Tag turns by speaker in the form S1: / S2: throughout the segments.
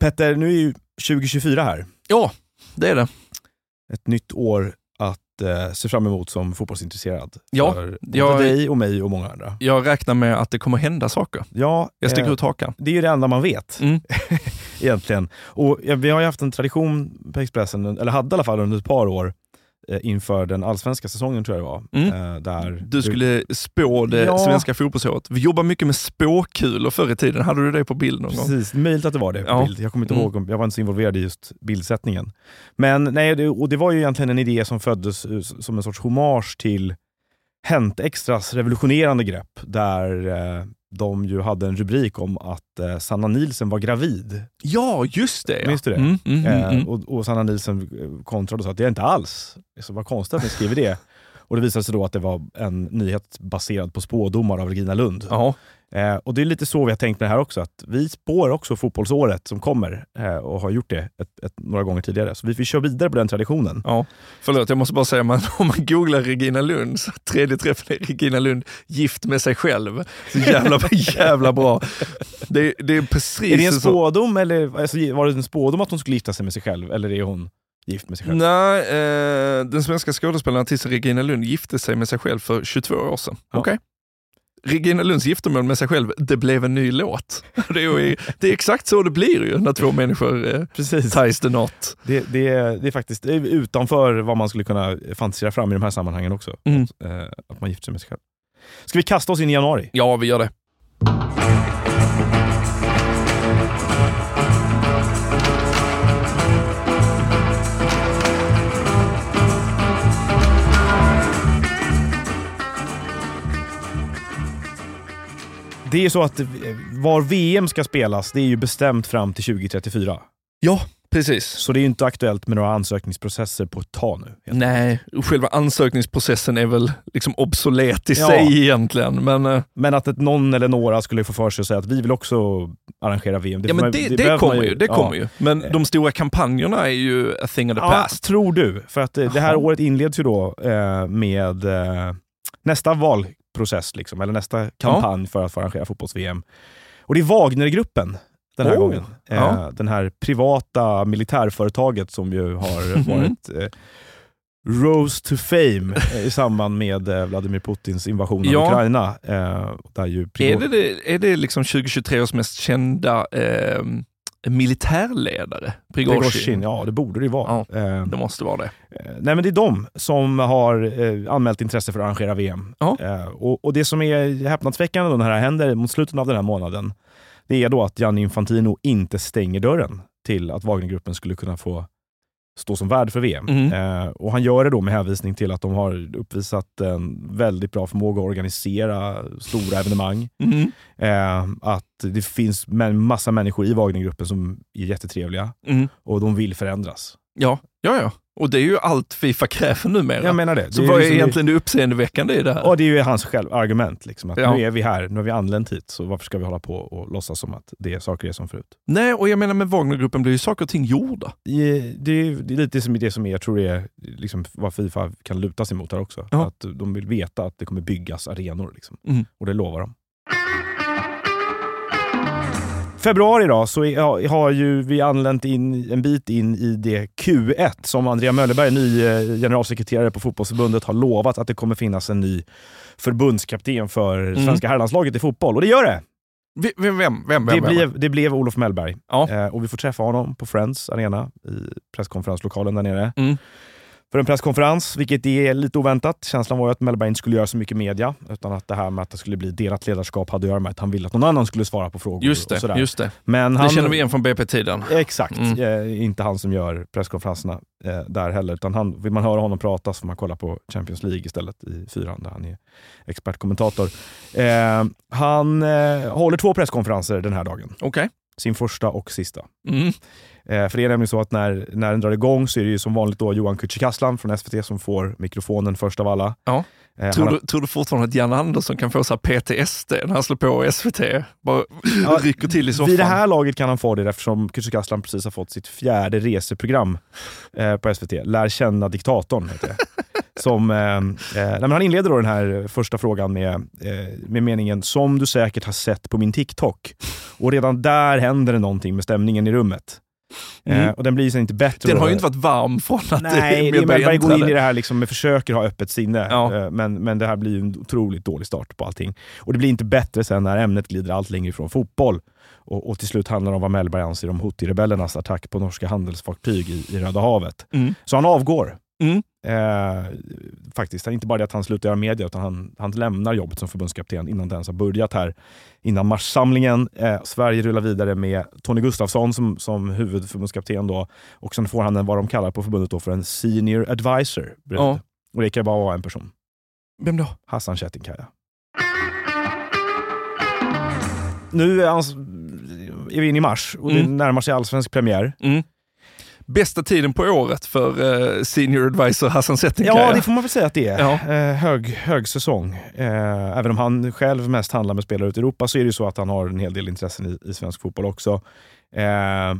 S1: Petter, nu är ju 2024 här.
S2: Ja, det är det.
S1: Ett nytt år att eh, se fram emot som fotbollsintresserad.
S2: Ja,
S1: för både
S2: jag-
S1: dig och mig och många andra.
S2: Jag räknar med att det kommer hända saker.
S1: Ja,
S2: Jag sticker
S1: eh,
S2: ut hakan.
S1: det är ju det enda man vet
S2: Mm.
S1: egentligen. Och ja, vi har ju haft en tradition på Expressen, eller hade i alla fall under ett par år, eh, inför den allsvenska säsongen tror jag det var. Eh, där
S2: Mm. Du skulle spå det
S1: Ja.
S2: svenska fotbollsåret. Vi jobbar mycket med spåkulor förr i tiden. Hade du det på bild någon gång?
S1: Precis, möjligt att det var det. på
S2: Ja.
S1: Bild. Jag kommer inte
S2: Mm.
S1: ihåg, om- jag var inte så involverad i just bildsättningen. Men nej, det, och det var ju egentligen en idé som föddes eh, s- som en sorts hommage till Hänt Extras revolutionerande grepp, där eh, de ju hade en rubrik om att eh, Sanna Nielsen var gravid.
S2: Ja, just det. Ja.
S1: Minns du det?
S2: Mm, mm, mm,
S1: Eh,
S2: mm.
S1: och, och Sanna Nielsen eh, kontrade och sa att det är inte alls. Så vad konstigt att ni skriver det. Och det visade sig då att det var en nyhet baserad på spådomar av Regina Lund.
S2: Ja.
S1: Eh, och det är lite så vi har tänkt med det här också, att vi spår också fotbollsåret som kommer eh, och har gjort det ett, ett, några gånger tidigare. Så vi, vi kör vidare på den traditionen.
S2: Ja, förlåt jag måste bara säga, man, om man googlar Regina Lund, så tredje träffen är Regina Lund gift med sig själv. Så jävla, jävla bra. Det, det är precis
S1: Är det en
S2: så.
S1: spådom, eller alltså, var det en spådom att hon skulle gifta sig med sig själv, eller är hon gift med sig själv?
S2: Nej, eh, den svenska skådespelaren artisten Regina Lund gifte sig med sig själv för 22 år sedan.
S1: Ja.
S2: Okej. Regina Lunds giftermål med sig själv, det blev en ny låt. Det är, det är exakt så det blir ju när två människor eh,
S1: Precis.
S2: ties the knot.
S1: Det, det, är- det är faktiskt det är utanför vad man skulle kunna fantisera fram i de här sammanhangen också.
S2: Mm.
S1: Att, eh, att man gifter sig med sig själv. Ska vi kasta oss in i januari?
S2: Ja, vi gör det.
S1: Det är så att eh, var VM ska spelas, det är ju bestämt fram till 2034.
S2: Ja, precis.
S1: Så det är ju inte aktuellt med några ansökningsprocesser på ett tag nu. helt
S2: Nej, själva ansökningsprocessen är väl liksom obsolet i
S1: Ja.
S2: sig egentligen. Men, eh,
S1: Men att ett, någon eller några skulle få för sig att säga att vi vill också arrangera VM.
S2: ja,
S1: får
S2: men
S1: man-
S2: det, det,
S1: behöver man
S2: kommer ju. Det kommer ju. Men
S1: Eh.
S2: de stora kampanjerna är ju a thing of the
S1: Ja,
S2: past.
S1: tror du? För att eh, det här
S2: Jaha.
S1: året inleds ju då eh, med eh, nästa valprocess, liksom, eller nästa kampanj för att få arrangera fotbolls-VM. Och det är Wagnergruppen den här
S2: Oh,
S1: gången. Eh,
S2: ja.
S1: Den här privata militärföretaget som ju
S2: Mm.
S1: har varit eh, Rose to fame eh, i samband med eh, Vladimir Putins invasion av
S2: Ja.
S1: Ukraina. Eh, där ju
S2: Är
S1: Prigozjin-
S2: det, det, är det liksom 2023 års mest kända eh, militärledare?
S1: Prigozjin,
S2: Prigozjin.
S1: ja det borde det ju vara. Eh,
S2: Det måste vara det.
S1: Eh, Nej, men det är de som har eh, anmält intresse för att arrangera VM.
S2: Ja.
S1: Eh, och, och det som är häpnadsväckande då när det här händer mot slutet av den här månaden, det är då att Gianni Infantino inte stänger dörren till att Wagnergruppen skulle kunna få stå som värd för VM.
S2: Mm.
S1: Eh, och han gör det då med hänvisning till att de har uppvisat en väldigt bra förmåga att organisera stora evenemang.
S2: Mm.
S1: Eh, att det finns en massa människor i Wagnergruppen som är jättetrevliga
S2: Mm.
S1: och de vill förändras.
S2: Ja, ja, ja. Och det är ju allt Fifa kräver numera.
S1: Jag menar det.
S2: Så
S1: det
S2: vad är
S1: liksom-
S2: egentligen det uppseendeväckande i det här?
S1: Ja, det är ju hans självargument. Liksom, att
S2: Ja.
S1: Nu är vi här, nu har vi anlänt hit, så varför ska vi hålla på och låtsas som att det är saker är som förut?
S2: Nej, och jag menar med Wagnergruppen blir ju saker och ting gjorda.
S1: I- Det är, det är lite som det som är, jag tror det är liksom, vad Fifa kan luta sig mot här också.
S2: Ja.
S1: Att de vill veta att det kommer byggas arenor. Liksom.
S2: Mm.
S1: Och det lovar de. Februari då, så är- har ju vi anlänt in, en bit in i det Q1 som Andrea Möllerberg, ny eh, generalsekreterare på Fotbollsförbundet, har lovat att det kommer finnas en ny förbundskapten för
S2: Mm.
S1: svenska herrlandslaget i fotboll. Och det gör det!
S2: V- Vem, vem, vem?
S1: Det
S2: vem, vem?
S1: blev, det blev Olof Mellberg.
S2: Ja.
S1: Eh, och vi får träffa honom på Friends Arena i presskonferenslokalen där nere.
S2: Mm.
S1: För en presskonferens, vilket är lite oväntat. Känslan var ju att Mellberg inte skulle göra så mycket media, utan att det här med att det skulle bli delat ledarskap hade att göra med att han ville att någon annan skulle svara på frågor.
S2: Just
S1: och
S2: det,
S1: sådär.
S2: just det.
S1: Men han,
S2: Det känner vi igen från BP-tiden.
S1: Exakt.
S2: Mm.
S1: Eh, inte han som gör presskonferenserna eh, där heller. Utan han, vill man höra honom prata så får man kolla på Champions League istället i fyran där han är expertkommentator. Eh, han eh, håller två presskonferenser den här dagen.
S2: Okej.
S1: Sin första och sista.
S2: Mm.
S1: Eh, för det är nämligen så att när, när den drar igång så är det ju som vanligt då Johan Kücükaslan från SVT som får mikrofonen först av alla.
S2: Ja.
S1: Eh,
S2: Tror,
S1: han-
S2: du, tror du fortfarande att Jan Andersson kan få så här PTSD när han slår på SVT? Bara
S1: Ja,
S2: rycker till i soffan.
S1: Vid det här laget kan han få det eftersom Kücükaslan precis har fått sitt fjärde reseprogram eh, på SVT. Lär känna diktatorn heter det. Som, eh, eh, nej, men han inleder då den här första frågan med, eh, med meningen “Som du säkert har sett på min TikTok”. Och redan där händer det någonting med stämningen i rummet.
S2: Mm.
S1: Eh, och den blir sen inte bättre.
S2: Den
S1: då.
S2: har ju inte varit varm från att
S1: Nej, det är
S2: Medberg
S1: man bara går in
S2: äntrade.
S1: i det här liksom med försöker ha öppet sinne.
S2: Ja.
S1: Eh, Men, men det här blir ju en otroligt dålig start på allting. Och det blir inte bättre sen när ämnet glider allt längre ifrån fotboll. Och, och till slut handlar det om vad Mellberg anser om Houthi-rebellernas attack på norska handelsfartyg i, i Röda havet.
S2: Mm.
S1: Så han avgår.
S2: Mm.
S1: Eh, faktiskt. Det är inte bara det att han slutar göra media, utan han, han lämnar jobbet som förbundskapten innan det ens har börjat här. Innan marssamlingen. Eh, Sverige rullar vidare med Tony Gustafsson som, som huvudförbundskapten då. Och sen får han en, vad de kallar på förbundet då för en senior advisor. bredvid.
S2: Ja.
S1: Och det kan bara vara en person.
S2: Vem då?
S1: Hassan Çetinkaya. Nu är, hans, är vi inne i mars och det
S2: Mm.
S1: närmar sig allsvensk premiär.
S2: Mm. Bästa tiden på året för eh, senior advisor Hassan Settingkaja.
S1: Ja, det får man väl säga att det är.
S2: Ja.
S1: Eh, hög, hög säsong. Eh, även om han själv mest handlar med spelare ute i Europa så är det ju så att han har en hel del intressen i, i svensk fotboll också. Eh,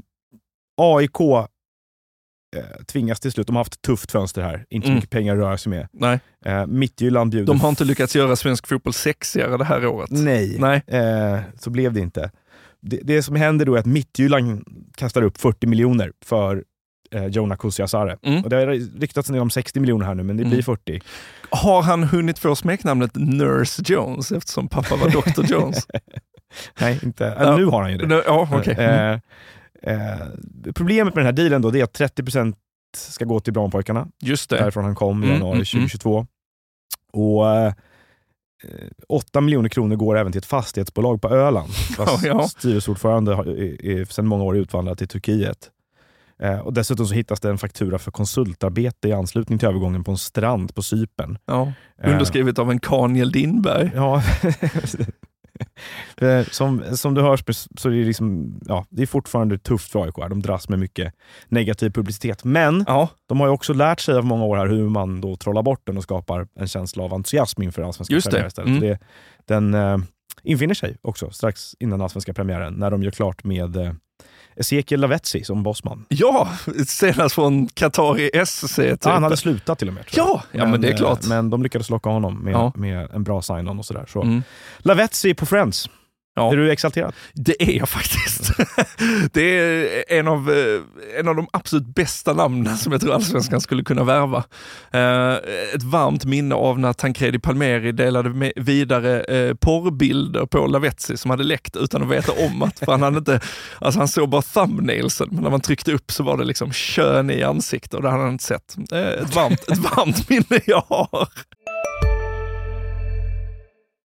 S1: AIK eh, tvingas till slut, de har haft ett tufft fönster här, inte så
S2: Mm.
S1: mycket pengar att röra sig med.
S2: Nej,
S1: Eh, Midtjylland bjuder...
S2: de har inte lyckats göra svensk fotboll sexigare det här året.
S1: Nej.
S2: Nej.
S1: Eh, så blev det inte. Det, det som händer då är att Midtjylland kastar upp 40 miljoner för eh, Jonah Kusiasare.
S2: Mm.
S1: Och Det har ryktats en del om 60 miljoner här nu, men det
S2: Mm.
S1: blir 40.
S2: Har han hunnit få smeknamnet Nurse Jones eftersom pappa var Dr Jones?
S1: Nej, inte.
S2: Ja.
S1: Eller, nu har han ju det.
S2: ja, okej. Mm.
S1: Eh, eh, problemet med den här dealen då, det är att 30% ska gå till Branpojkarna,
S2: Just det.
S1: därifrån han kom i
S2: Mm,
S1: januari
S2: mm,
S1: 2022. Och eh, 8 miljoner kronor går även till ett fastighetsbolag på Öland, vars
S2: Ja, ja.
S1: styrelseordförande har- är- är sedan många år utvandrat till Turkiet. Eh, och dessutom så hittas det en faktura för konsultarbete i anslutning till övergången på en strand på Cypern.
S2: Ja.
S1: Eh,
S2: Underskrivet av en Kaniel Lindberg.
S1: Ja. Eh, som, som du hör så är det, liksom, ja, det är fortfarande tufft för AIK. här. De dras med mycket negativ publicitet. Men
S2: Ja,
S1: de har ju också lärt sig av många år här hur man då trollar bort den och skapar en känsla av entusiasm inför allsvenska
S2: Just det.
S1: premiären istället.
S2: Mm.
S1: Det, den eh, infinner sig också strax innan allsvenska premiären när de gör klart med eh, Ezekiel Lavetzi som bossman.
S2: ja senast från Qatar i SC. Typ.
S1: Ah, han hade slutat till och med. tror jag.
S2: Ja, ja men, det är
S1: eh,
S2: klart.
S1: Men de lyckades locka honom med,
S2: Ja.
S1: med en bra sign-on och sådär. Så.
S2: Mm.
S1: Lavetzi på Friends.
S2: Ja.
S1: Är du exalterad?
S2: Det är jag faktiskt. Det är en av, eh, en av de absolut bästa namnen som jag tror allsvenskan skulle kunna värva. Eh, Ett varmt minne av när Tancredi Palmeri delade med- vidare eh, porrbilder på Lavetzi som hade läckt utan att veta om att, för han hade inte, alltså han såg bara thumbnailsen, men när man tryckte upp så var det liksom kön i ansiktet och det hade han inte sett. Eh, Ett varmt, ett varmt minne jag har.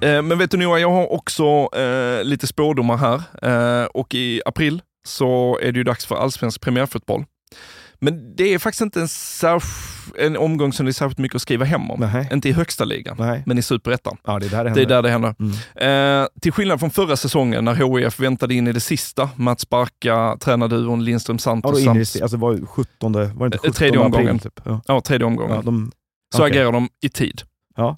S2: Eh, Men vet du Noah, jag har också eh, lite spådomar här. Eh, och i april så är det ju dags för allsvensk premiärfotboll. Men det är faktiskt inte en, särsk- en omgång som det är särskilt mycket att skriva hem om.
S1: Nej.
S2: Inte i högsta ligan,
S1: Nej.
S2: men i superettan.
S1: Ja, det är där det
S2: Det
S1: händer.
S2: är där det händer.
S1: Mm.
S2: Eh, till skillnad från förra säsongen när HIF väntade in i det sista med att sparka tränarduon Lindström
S1: Ja,
S2: Santos
S1: då
S2: samt
S1: inne i, alltså det var 17, var det inte
S2: Eh,
S1: 17
S2: tredje omgången.
S1: april? Typ. Ja.
S2: ja, tredje
S1: Ja,
S2: omgången.
S1: de,
S2: så
S1: Okej.
S2: agerar de i tid.
S1: Ja.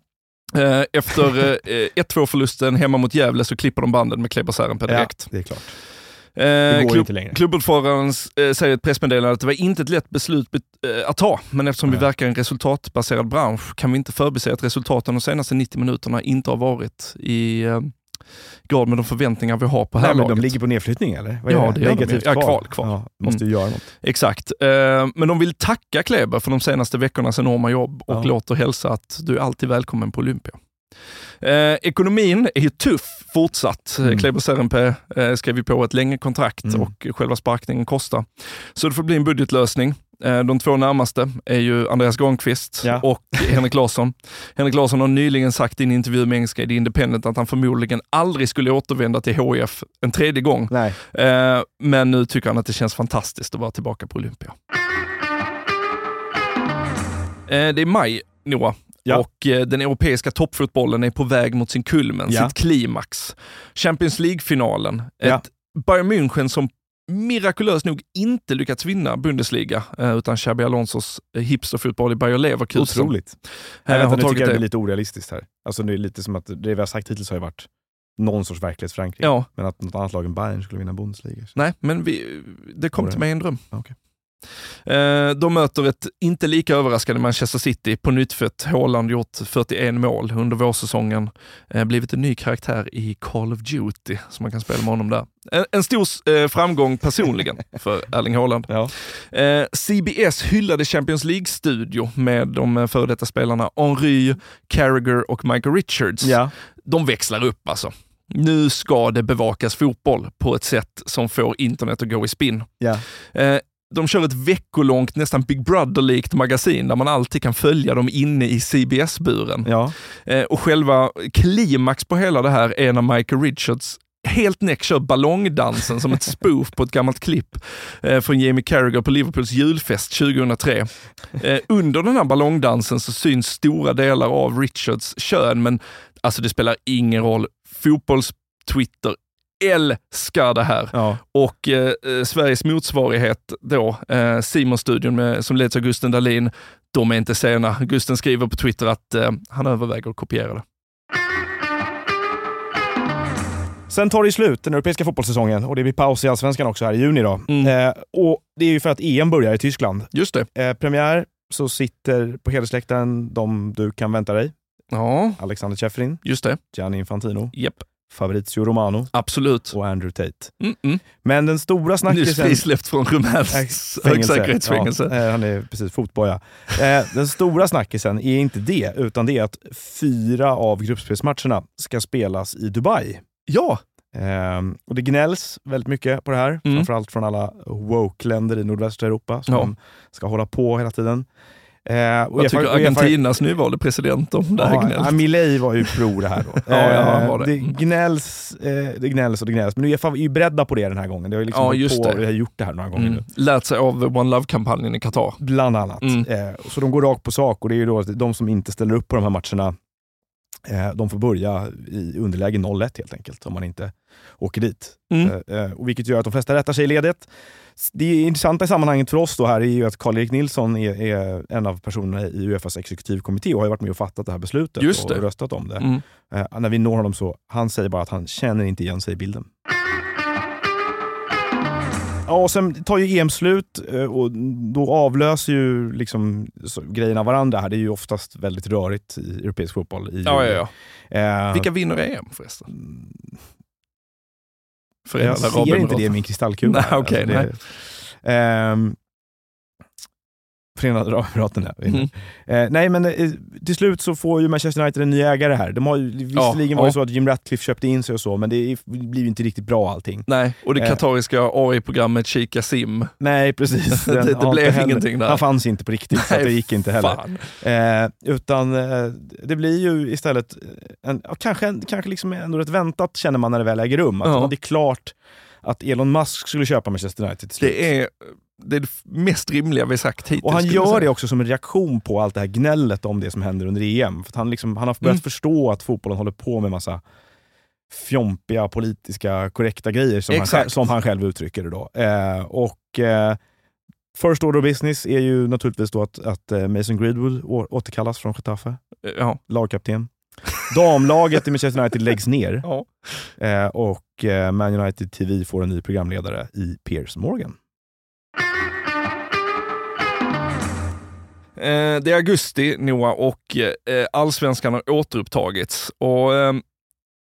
S2: Eh, Efter eh, 1-2-förlusten hemma mot Gävle så klipper de banden med Kleber Serenpä direkt.
S1: Ja, det är klart.
S2: Eh,
S1: Det går
S2: klubb-
S1: inte längre.
S2: Klubbordföranden eh, säger i ett pressmeddelande att det var inte ett lätt beslut be- eh, att ta, men eftersom vi
S1: Nej.
S2: verkar i en resultatbaserad bransch kan vi inte förbise att resultaten de senaste 90 minuterna inte har varit i eh, grad med de förväntningar vi har på
S1: Nej,
S2: här
S1: men de
S2: laget.
S1: ligger på nedflyttning eller? Vad
S2: Ja,
S1: är
S2: det gör de
S1: Negativt
S2: ju. Ja, kval, kval. Mm.
S1: Ja, måste ju göra något.
S2: Exakt. Eh, men de vill tacka Kleber för de senaste veckornas enorma jobb och
S1: Ja.
S2: låter hälsa att du är alltid välkommen på Olympia. Eh, ekonomin är ju tuff fortsatt.
S1: Mm.
S2: Mm. Kleber Serenpä eh, skrev ju på ett längre kontrakt
S1: Mm.
S2: och själva sparkningen kostar. Så det får bli en budgetlösning. Eh, De två närmaste är ju Andreas Granqvist
S1: Ja.
S2: och Henrik Larsson. Henrik Larsson har nyligen sagt i en intervju med engelska i The Independent att han förmodligen aldrig skulle återvända till HIF en tredje gång.
S1: Nej.
S2: Eh, men nu tycker han att det känns fantastiskt att vara tillbaka på Olympia. Eh, det är maj, Noah.
S1: Ja.
S2: Och eh, den europeiska toppfotbollen är på väg mot sin kulmen,
S1: Ja.
S2: sitt klimax. Champions League-finalen.
S1: Ja.
S2: Ett Bayern München som mirakulöst nog inte lyckats vinna Bundesliga, eh, utan Xabi Alonsos eh, hipsterfotboll i Bayer Leverkusen.
S1: Otroligt.
S2: Eh,
S1: Nej, vänta,
S2: har
S1: nu tycker
S2: tagit
S1: jag det
S2: det.
S1: blir lite orealistiskt här. Alltså, det är lite som att det vi har sagt hittills har ju varit någon sorts verklighetsförankring.
S2: Ja,
S1: Men att något annat lag än Bayern skulle vinna Bundesliga.
S2: nej, men vi, det kom
S1: Var liksom. det? Ah,
S2: till mig i en dröm.
S1: Okej.
S2: Eh, de möter ett inte lika överraskande Manchester City på nyttfött. Haaland gjort 41 mål under vårsäsongen. Eh, blivit en ny karaktär i Call of Duty, som man kan spela med honom där. En, en stor eh, framgång personligen för Erling Haaland.
S1: Ja.
S2: Eh, CBS hyllade Champions League-studio med de eh, före detta spelarna Henry, Carragher och Michael Richards
S1: Ja.
S2: de växlar upp alltså. Nu ska det bevakas fotboll på ett sätt som får internet att gå i spinn.
S1: Ja.
S2: Eh, de kör ett veckolångt, nästan Big Brother-likt magasin där man alltid kan följa dem inne i CBS-buren.
S1: ja.
S2: Eh, och själva klimax på hela det här är när Michael Richards helt näck kör ballongdansen som ett spoof på ett gammalt klipp eh, från Jamie Carragher på Liverpools julfest 2003. Eh, under den här ballongdansen så syns stora delar av Richards kön, men alltså det spelar ingen roll. Fotbolls-Twitter älskar det här.
S1: ja.
S2: Och eh, eh, Sveriges motsvarighet då, eh, Simon-studion med, som leds av Gusten Dahlin, de är inte sena. Gusten skriver på Twitter att eh, han överväger att kopiera det.
S1: Sen tar det ju slut, den europeiska fotbollssäsongen. Och det blir paus i Allsvenskan också här i juni. Då.
S2: Mm.
S1: Eh, och Det är ju för att EM börjar i Tyskland.
S2: Just det.
S1: Eh, premiär så sitter på hedersläktaren de du kan vänta dig.
S2: Ja,
S1: Alexander Cheferin,
S2: just det.
S1: Gianni Infantino,
S2: Japp,
S1: Fabrizio Romano
S2: absolut.
S1: och Andrew Tate.
S2: Mm -mm.
S1: Men den stora
S2: Nyss
S1: snackisen...
S2: frisläppt från rumänskt högsäkerhetsfängelse.
S1: Ja, eh, han är precis fotboja. Eh, Den stora snackisen är inte det, utan det är att fyra av gruppspelsmatcherna ska spelas i Dubai.
S2: Ja,
S1: Ehm, och Det gnälls väldigt mycket på det här,
S2: Mm.
S1: framförallt från alla woke-länder i nordvästra Europa som
S2: Ja.
S1: de ska hålla på hela tiden. Eh,
S2: jag tycker Argentinas nyvalde president om det här
S1: Ja,
S2: gnället.
S1: Milei var ju pro det här då.
S2: Ja, ja, han
S1: Eh,
S2: var det. Mm.
S1: gnälls, eh, det gnälls och det gnälls, men Uefa är ju beredda på det den här gången. Det har ju liksom
S2: Ja,
S1: hållit
S2: just
S1: på,
S2: det.
S1: Vi har gjort det här några gånger nu.
S2: Mm. Lät sig av One Love-kampanjen i Qatar.
S1: Bland annat.
S2: Mm.
S1: Eh, så de går rakt på sak och det är ju då att de som inte ställer upp på de här matcherna, eh, de får börja i underläge 0-1 helt enkelt, om man inte åker dit.
S2: Mm.
S1: Eh, eh, och vilket gör att de flesta rättar sig i ledet. S- Det intressanta i sammanhanget för oss då här är ju att Karl-Erik Nilsson är, är en av personerna i Uefas exekutivkommitté och har ju varit med och fattat det här beslutet
S2: Just
S1: och
S2: det.
S1: röstat om det.
S2: Mm.
S1: Eh, när vi når honom så, han säger bara att han känner inte igen sig i bilden. Ja, och sen tar ju EM slut eh, och då avlöser ju liksom så, grejerna varandra. här. Det är ju oftast väldigt rörigt i europeisk fotboll. I
S2: Ja, ja, ja.
S1: Eh,
S2: Vilka vinner EM förresten? Förenade
S1: jag ser
S2: Arabemiraten.
S1: inte det i min kristallkula.
S2: Nej, okej,
S1: det- ehm, Förenade Arabemiraten. ja.
S2: Mm.
S1: Eh, nej, men eh, till slut så får ju Manchester United en ny ägare här. De har ju, visserligen var det
S2: ja.
S1: så att Jim Ratcliffe köpte in sig och så, men det är- blir ju inte riktigt bra allting.
S2: Nej, och det
S1: Eh.
S2: katariska AI-programmet Chica Sim.
S1: Nej, precis.
S2: Det- det
S1: har inte
S2: blev
S1: heller-
S2: ingenting där.
S1: Han fanns inte på riktigt, så att det
S2: Nej,
S1: gick inte heller.
S2: Fan.
S1: Eh, utan eh, det blir ju istället, en, ja, kanske, en- kanske liksom ändå rätt väntat känner man när det väl äger rum. Att
S2: Ja.
S1: Det är klart att Elon Musk skulle köpa Manchester United till slut.
S2: Det är det, är det mest rimliga vi sagt hittills.
S1: Och han
S2: skulle jag
S1: gör
S2: säga.
S1: det också som en reaktion på allt det här gnället om det som händer under EM. För att han, liksom, han har börjat
S2: Mm.
S1: förstå att fotbollen håller på med massa fjompiga, politiska, korrekta grejer som, han,
S2: Exakt.
S1: själv- som han själv uttrycker det. Då. Eh, och, eh, first order of business är ju naturligtvis då att, att eh, Mason Greenwood å- återkallas från Getafe,
S2: Ja.
S1: lagkapten. Damlaget i Manchester United läggs ner
S2: Ja.
S1: eh, och eh, Man United TV får en ny programledare i Piers Morgan.
S2: Eh, Det är augusti, Noah, och eh, allsvenskan har återupptagits. Och eh,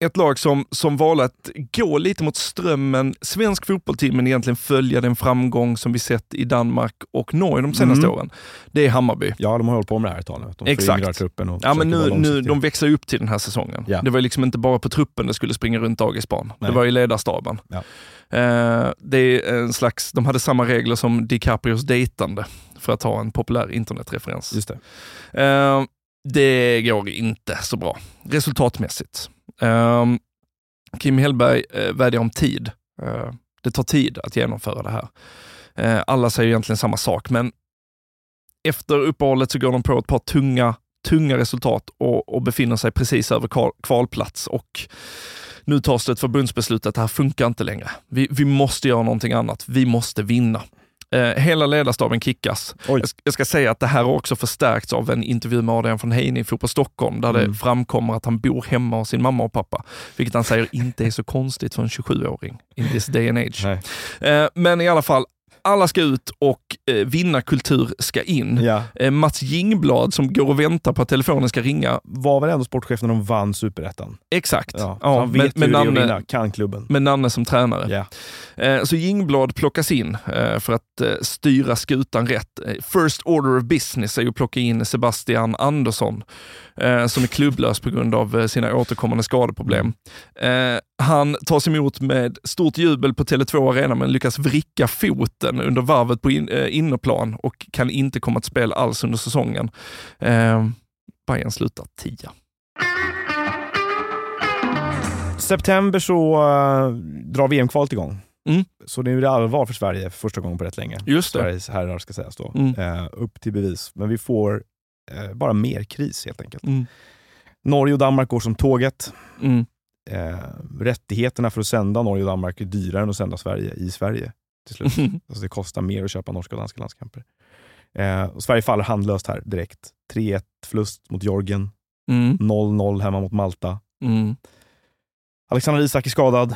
S2: ett lag som, som valde att gå lite mot strömmen, svensk fotbollsteam, men egentligen följa den framgång som vi sett i Danmark och Norge de senaste
S1: Mm.
S2: åren, det är Hammarby.
S1: Ja, de har hållit på med det här ett tag nu. att De
S2: Exakt.
S1: föryngrar truppen och
S2: Ja, men
S1: försöker
S2: nu,
S1: vara
S2: nu,
S1: långsiktiga.
S2: de växer ju upp till den här säsongen.
S1: Ja.
S2: Det var ju liksom inte bara på truppen det skulle springa runt dagisbarn.
S1: Nej.
S2: Det var ju ledarstaben.
S1: Ja.
S2: Eh, det är en slags, de hade samma regler som DiCaprios dejtande, för att ta en populär internetreferens.
S1: Just det.
S2: Eh, det går inte så bra, resultatmässigt. Eh, Kim Hellberg eh, vädjar om tid. Eh, det tar tid att genomföra det här. Eh, alla säger egentligen samma sak, men efter uppehållet så går de på ett par tunga tunga resultat och, och befinner sig precis över kval, kvalplats. Och nu tas det ett förbundsbeslut att det här funkar inte längre. Vi, vi måste göra någonting annat. Vi måste vinna. Eh, hela ledarstaben kickas.
S1: Oj.
S2: Jag, ska- jag ska säga att det här har också förstärkts av en intervju med Adrian von Heine i Fotboll Stockholm, där det
S1: Mm.
S2: framkommer att han bor hemma hos sin mamma och pappa, vilket han säger inte är så konstigt för en 27-åring in this day and age.
S1: Nej.
S2: Eh, men i alla fall, alla ska ut och eh, vinnarkultur ska in.
S1: Ja.
S2: Eh, Mats Jingblad som går och väntar på att telefonen ska ringa.
S1: Var väl ändå sportchef när de vann superettan?
S2: Exakt.
S1: Ja.
S2: Ja,
S1: så han vet hur
S2: med, med,
S1: det är att vinna,
S2: Nanne,
S1: kan klubben.
S2: med Nanne som tränare.
S1: Ja.
S2: Eh, Så Jingblad plockas in eh, för att eh, styra skutan rätt. Eh, First order of business är ju att plocka in Sebastian Andersson eh, som är klubblös på grund av eh, sina återkommande skadeproblem. Eh, Han tas emot med stort jubel på Tele2 Arena men lyckas vricka foten under varvet på in- eh, innerplan och kan inte komma till spel alls under säsongen. Eh, Bayern slutar tia.
S1: September så eh, drar VM-kvalet igång.
S2: Mm.
S1: Så nu är det allvar för Sverige för första gången på rätt länge.
S2: Just det.
S1: Sveriges herrar ska sägas då.
S2: Mm.
S1: Eh, upp till bevis. Men vi får eh, bara mer kris helt enkelt.
S2: Mm.
S1: Norge och Danmark går som tåget.
S2: Mm.
S1: Eh, rättigheterna för att sända Norge och Danmark är dyrare än att sända Sverige i Sverige till
S2: Mm.
S1: slut. Alltså det kostar mer att köpa norska och danska landskamper. Eh, och Sverige faller handlöst här direkt. 3-1 förlust mot Jorgen,
S2: Mm.
S1: 0-0 hemma mot Malta.
S2: Mm.
S1: Alexander Isak är skadad.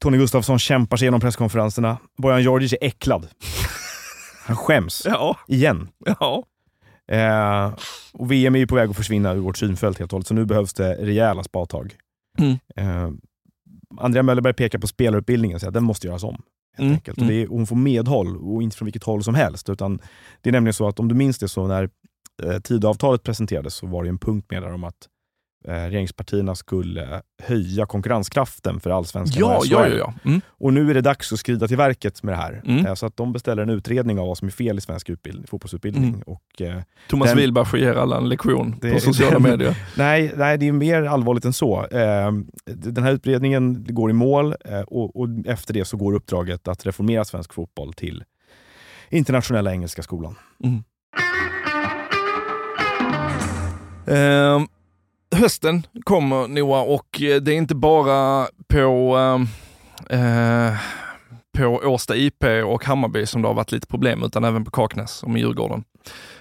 S1: Tony Gustafsson kämpar sig igenom presskonferenserna. Bojan Djordjic är äcklad. Han skäms.
S2: Ja,
S1: Igen.
S2: ja.
S1: Eh, och VM är ju på väg att försvinna ur vårt synfält helt och hållet, så nu behövs det rejäla spadtag.
S2: Mm.
S1: Eh, Andrea Möllerberg pekar på spelarutbildningen och säger att den måste göras om. Helt
S2: Mm,
S1: enkelt. Och
S2: mm.
S1: det är, och hon får medhåll, och inte från vilket håll som helst. Utan det är nämligen så att om du minns det så när eh, Tidöavtalet presenterades så var det ju en punkt med där om att eh, regeringspartierna skulle höja konkurrenskraften för allsvenskan
S2: Ja,
S1: och SHL.
S2: ja, ja. ja. Mm.
S1: Och nu är det dags att skrida till verket med det här.
S2: Mm.
S1: Eh, så att de beställer en utredning av vad som är fel i svensk utbildning, fotbollsutbildning.
S2: Mm.
S1: Och, eh,
S2: Thomas
S1: Den-
S2: Wilbach ger alla en lektion
S1: Det-
S2: på sociala
S1: den-
S2: medier.
S1: Nej, nej, det är mer allvarligt än så. Eh, Den här utredningen går i mål eh, och, och efter det så går uppdraget att reformera svensk fotboll till Internationella Engelska Skolan.
S2: Mm. Ehm, hösten kommer Noah och eh, det är inte bara på, ehm, eh, på Årsta IP och Hammarby som det har varit lite problem utan även på Kaknäs och med Djurgården.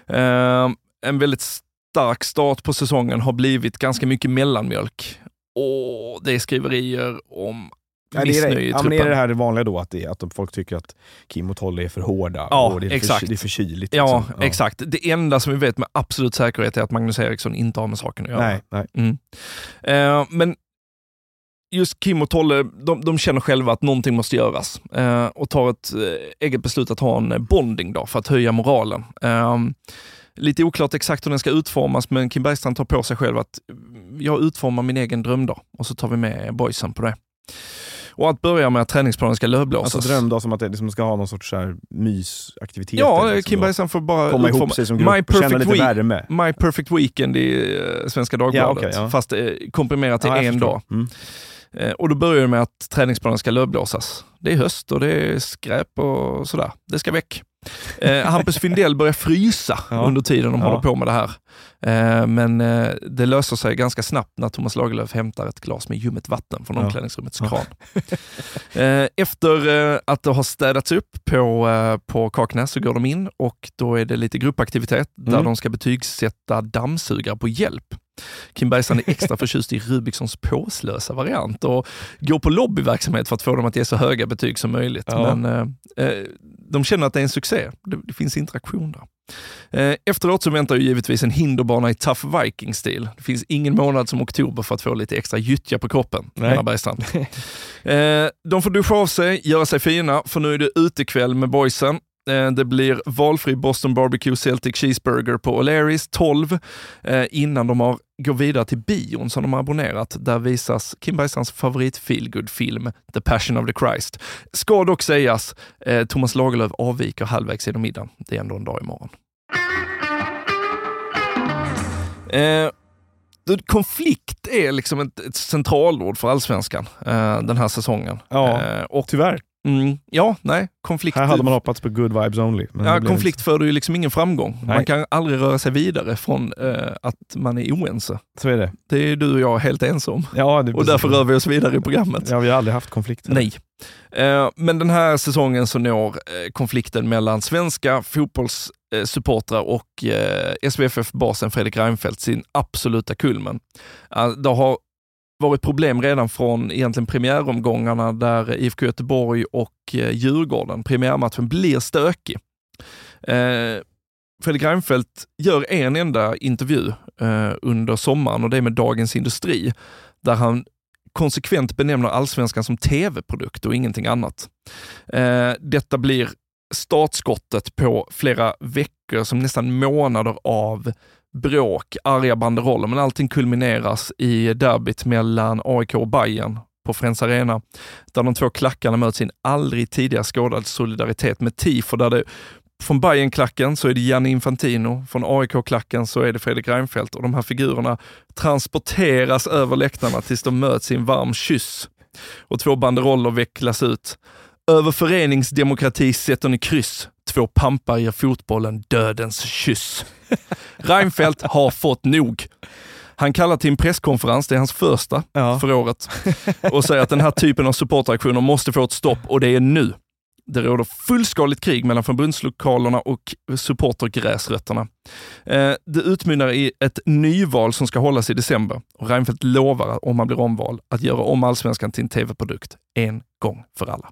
S2: Ehm, en väldigt stark start på säsongen har blivit ganska mycket mellanmjölk. Och det är skriverier om
S1: Ja, det är,
S2: missnöje
S1: det,
S2: i
S1: ja, men
S2: truppen.
S1: är det här det vanliga då, att, det, att de- folk tycker att Kim och Tolle är för hårda
S2: Ja,
S1: och det är,
S2: exakt.
S1: För, det är för kyligt?
S2: Ja,
S1: liksom.
S2: exakt. Det enda som vi vet med absolut säkerhet är att Magnus Eriksson inte har med saken att göra. Mm.
S1: Nej, nej.
S2: Eh, men just Kim och Tolle, de, de känner själva att någonting måste göras eh, och tar ett eh, eget beslut att ha en eh, bonding då för att höja moralen. Eh, lite oklart exakt hur den ska utformas, men Kim Bergstrand tar på sig själv att mm, jag utformar min egen drömdag och så tar vi med boysen på det. Och att börja med att träningsplanen ska lövblåsas.
S1: Alltså drömdag som att det liksom ska ha någon sorts så här mysaktivitet.
S2: ja,
S1: eller
S2: eh,
S1: liksom
S2: Kim
S1: då.
S2: Bergstrand får bara
S1: Komma ihop
S2: utforma-
S1: sig som
S2: My
S1: grupp och känna
S2: perfect
S1: lite
S2: week.
S1: värme.
S2: My Perfect Weekend i eh, Svenska Dagbladet,
S1: Ja, okej, ja.
S2: fast eh, komprimerat till
S1: Ja, jag
S2: en
S1: förstår.
S2: dag.
S1: Mm.
S2: Eh, Och då börjar det med att träningsplanen ska lövblåsas. Det är höst och det är skräp och sådär. Det ska väck. Eh, Hampus Findell börjar frysa
S1: Ja.
S2: under tiden de
S1: Ja.
S2: håller på med det här. Eh, men eh, det löser sig ganska snabbt när Thomas Lagerlöf hämtar ett glas med ljummet vatten från
S1: Ja.
S2: omklädningsrummets kran. Eh, efter eh, att det har städats upp på, eh, på Kaknäs så går de in och då är det lite gruppaktivitet där
S1: Mm.
S2: de ska betygsätta dammsugare på hjälp. Kim Bergstrand är extra förtjust i Rubiksons påslösa variant och går på lobbyverksamhet för att få dem att ge så höga betyg som möjligt.
S1: Ja.
S2: Men eh, eh, de känner att det är en succé. Det, det finns interaktion där. Eh, efteråt så väntar ju givetvis en hinderbana i tough viking-stil. Det finns ingen månad som oktober för att få lite extra gyttja på kroppen,
S1: Nej.
S2: menar Bergstrand. Eh, de får duscha av sig, göra sig fina, för nu är det utekväll med boysen. Eh, Det blir valfri Boston Barbecue Celtic Cheeseburger på O'Learys 12 eh, innan de har, går vidare till bion som de har abonnerat. Där visas Kim Bergstrands favorit feelgood-film The Passion of the Christ. Ska dock sägas, eh, Thomas Lagerlöf avviker halvvägs genom middagen. Det är ändå en dag imorgon. Eh, du, konflikt är liksom ett, ett centralord för allsvenskan eh, den här säsongen.
S1: Ja,
S2: Eh, och
S1: Tyvärr.
S2: Mm, ja, nej. Konflikt,
S1: Här hade man hoppats på good vibes only. men det
S2: ja,
S1: blev
S2: konflikt föder ju liksom ingen framgång. Man
S1: Nej.
S2: kan aldrig röra sig vidare från eh, att man är oense.
S1: inte. Så är det.
S2: Det är du och jag helt ensam.
S1: Ja, det är
S2: Och
S1: precis.
S2: därför rör vi oss vidare i programmet.
S1: Ja, vi har aldrig haft konflikter.
S2: Nej. Eh, Men den här säsongen så når eh, konflikten mellan svenska fotbollssupportrar och eh, SvFF-basen Fredrik Reinfeldt sin absoluta kulmen. Eh, Det har varit problem redan från egentligen premiäromgångarna där IFK Göteborg och eh, Djurgården, premiärmatchen, blir stökig. Eh, Fredrik Reinfeldt gör en enda intervju eh, under sommaren och det är med Dagens Industri där han konsekvent benämner allsvenskan som tv-produkt och ingenting annat. Eh, detta blir startskottet på flera veckor, som nästan månader av bråk, arga banderoller, men allting kulmineras i derbyt mellan AIK och Bayern på Friends Arena, där de två klackarna möts i en aldrig tidigare skådad solidaritet med tifo, där det från Bayern-klacken så är det Gianni Infantino, från AIK-klacken så är det Fredrik Reinfeldt och de här figurerna transporteras över läktarna tills de möts i en varm kyss och två banderoller vecklas ut. Över föreningsdemokrati sätter ni kryss. Två pampar ger fotbollen dödens kyss. Reinfeldt har fått nog. Han kallar till en presskonferens, det är hans första
S1: Ja.
S2: för året, och säger att den här typen av supporteraktioner måste få ett stopp och det är nu. Det råder fullskaligt krig mellan förbundslokalerna och supportergräsrötterna. Eh, Det utmynnar i ett nyval som ska hållas i december och Reinfeldt lovar, att om han blir omvald, att göra om allsvenskan till en tv-produkt en gång för alla.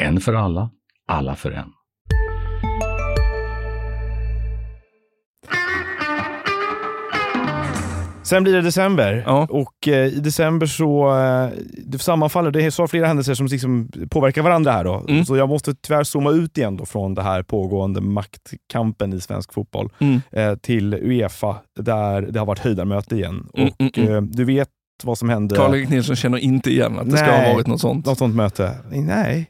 S3: En för alla, alla för en.
S1: Sen blir det december.
S2: Ja.
S1: Och eh, i december så eh, det sammanfaller det är så flera händelser som liksom påverkar varandra här. Då.
S2: Mm.
S1: Så jag måste tyvärr zooma ut igen då från den här pågående maktkampen i svensk fotboll
S2: Mm.
S1: eh, till Uefa, där det har varit höjdarmöte igen.
S2: Mm,
S1: och
S2: mm,
S1: Eh, du vet vad som hände?
S2: Karl-Erik Nilsson känner inte igen att det ska ha
S1: Nej.
S2: varit något sånt.
S1: Något sånt möte? Nej.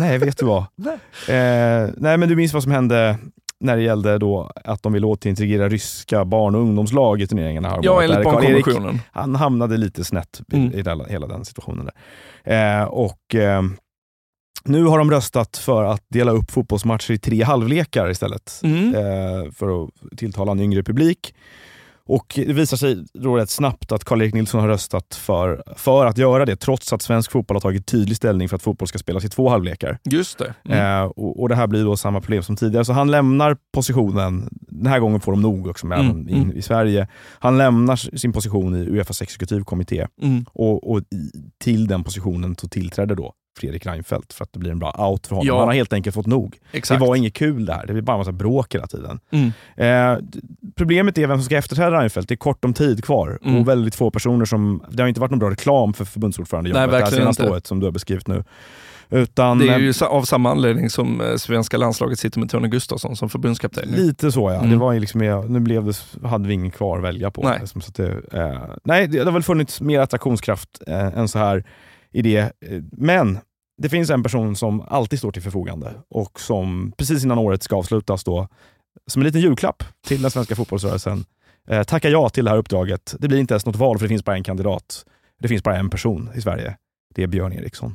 S1: nej, vet du vad?
S2: Nej.
S1: Eh, nej, men du minns vad som hände när det gällde då att de ville återintegrera ryska barn och ungdomslag i turneringarna. här om
S2: Ja,
S1: året.
S2: enligt
S1: Där Karl-Erik
S2: barnkonventionen.
S1: han hamnade lite snett i,
S2: Mm.
S1: i hela, hela den situationen. Där. Eh, och eh, Nu har de röstat för att dela upp fotbollsmatcher i tre halvlekar istället.
S2: Mm.
S1: Eh, för att tilltala en yngre publik. Och Det visar sig då rätt snabbt att Karl-Erik Nilsson har röstat för, för att göra det, trots att svensk fotboll har tagit tydlig ställning för att fotboll ska spelas i två halvlekar.
S2: Just det. Mm.
S1: Eh, och, och Det här blir då samma problem som tidigare, så han lämnar positionen. Den här gången får de nog också med
S2: Mm,
S1: honom in,
S2: mm.
S1: i Sverige. Han lämnar sin position i Uefas exekutivkommitté
S2: Mm.
S1: och, och i, till den positionen så tillträdde då Fredrik Reinfeldt för att det blir en bra out för honom.
S2: Ja.
S1: Han har helt enkelt fått nog.
S2: Exakt.
S1: Det var inget kul det här. Det blir bara en massa bråk hela tiden.
S2: Mm.
S1: Eh, d- problemet är vem som ska efterträda Reinfeldt. Det är kort om tid kvar
S2: Mm.
S1: och väldigt få personer som... Det har inte varit någon bra reklam för förbundsordförandejobbet
S2: Nej,
S1: det här
S2: verkligen
S1: senaste
S2: inte.
S1: året som du har beskrivit nu. Utan,
S2: Det är
S1: eh,
S2: ju sa- av samma anledning som eh, svenska landslaget sitter med Tony Gustafsson som förbundskapten. nu.
S1: Lite så ja.
S2: Mm.
S1: Det var ju liksom, ja, nu blev det, hade vi ingen kvar att välja på.
S2: Nej.
S1: Liksom, så att det, eh, nej, det det har väl funnits mer attraktionskraft eh, än så här i det. Eh, Men det finns en person som alltid står till förfogande och som precis innan året ska avslutas då, som en liten julklapp till den svenska fotbollsrörelsen, eh, tackar ja till det här uppdraget. Det blir inte ens något val för det finns bara en kandidat. Det finns bara en person i Sverige. Det är Björn Eriksson.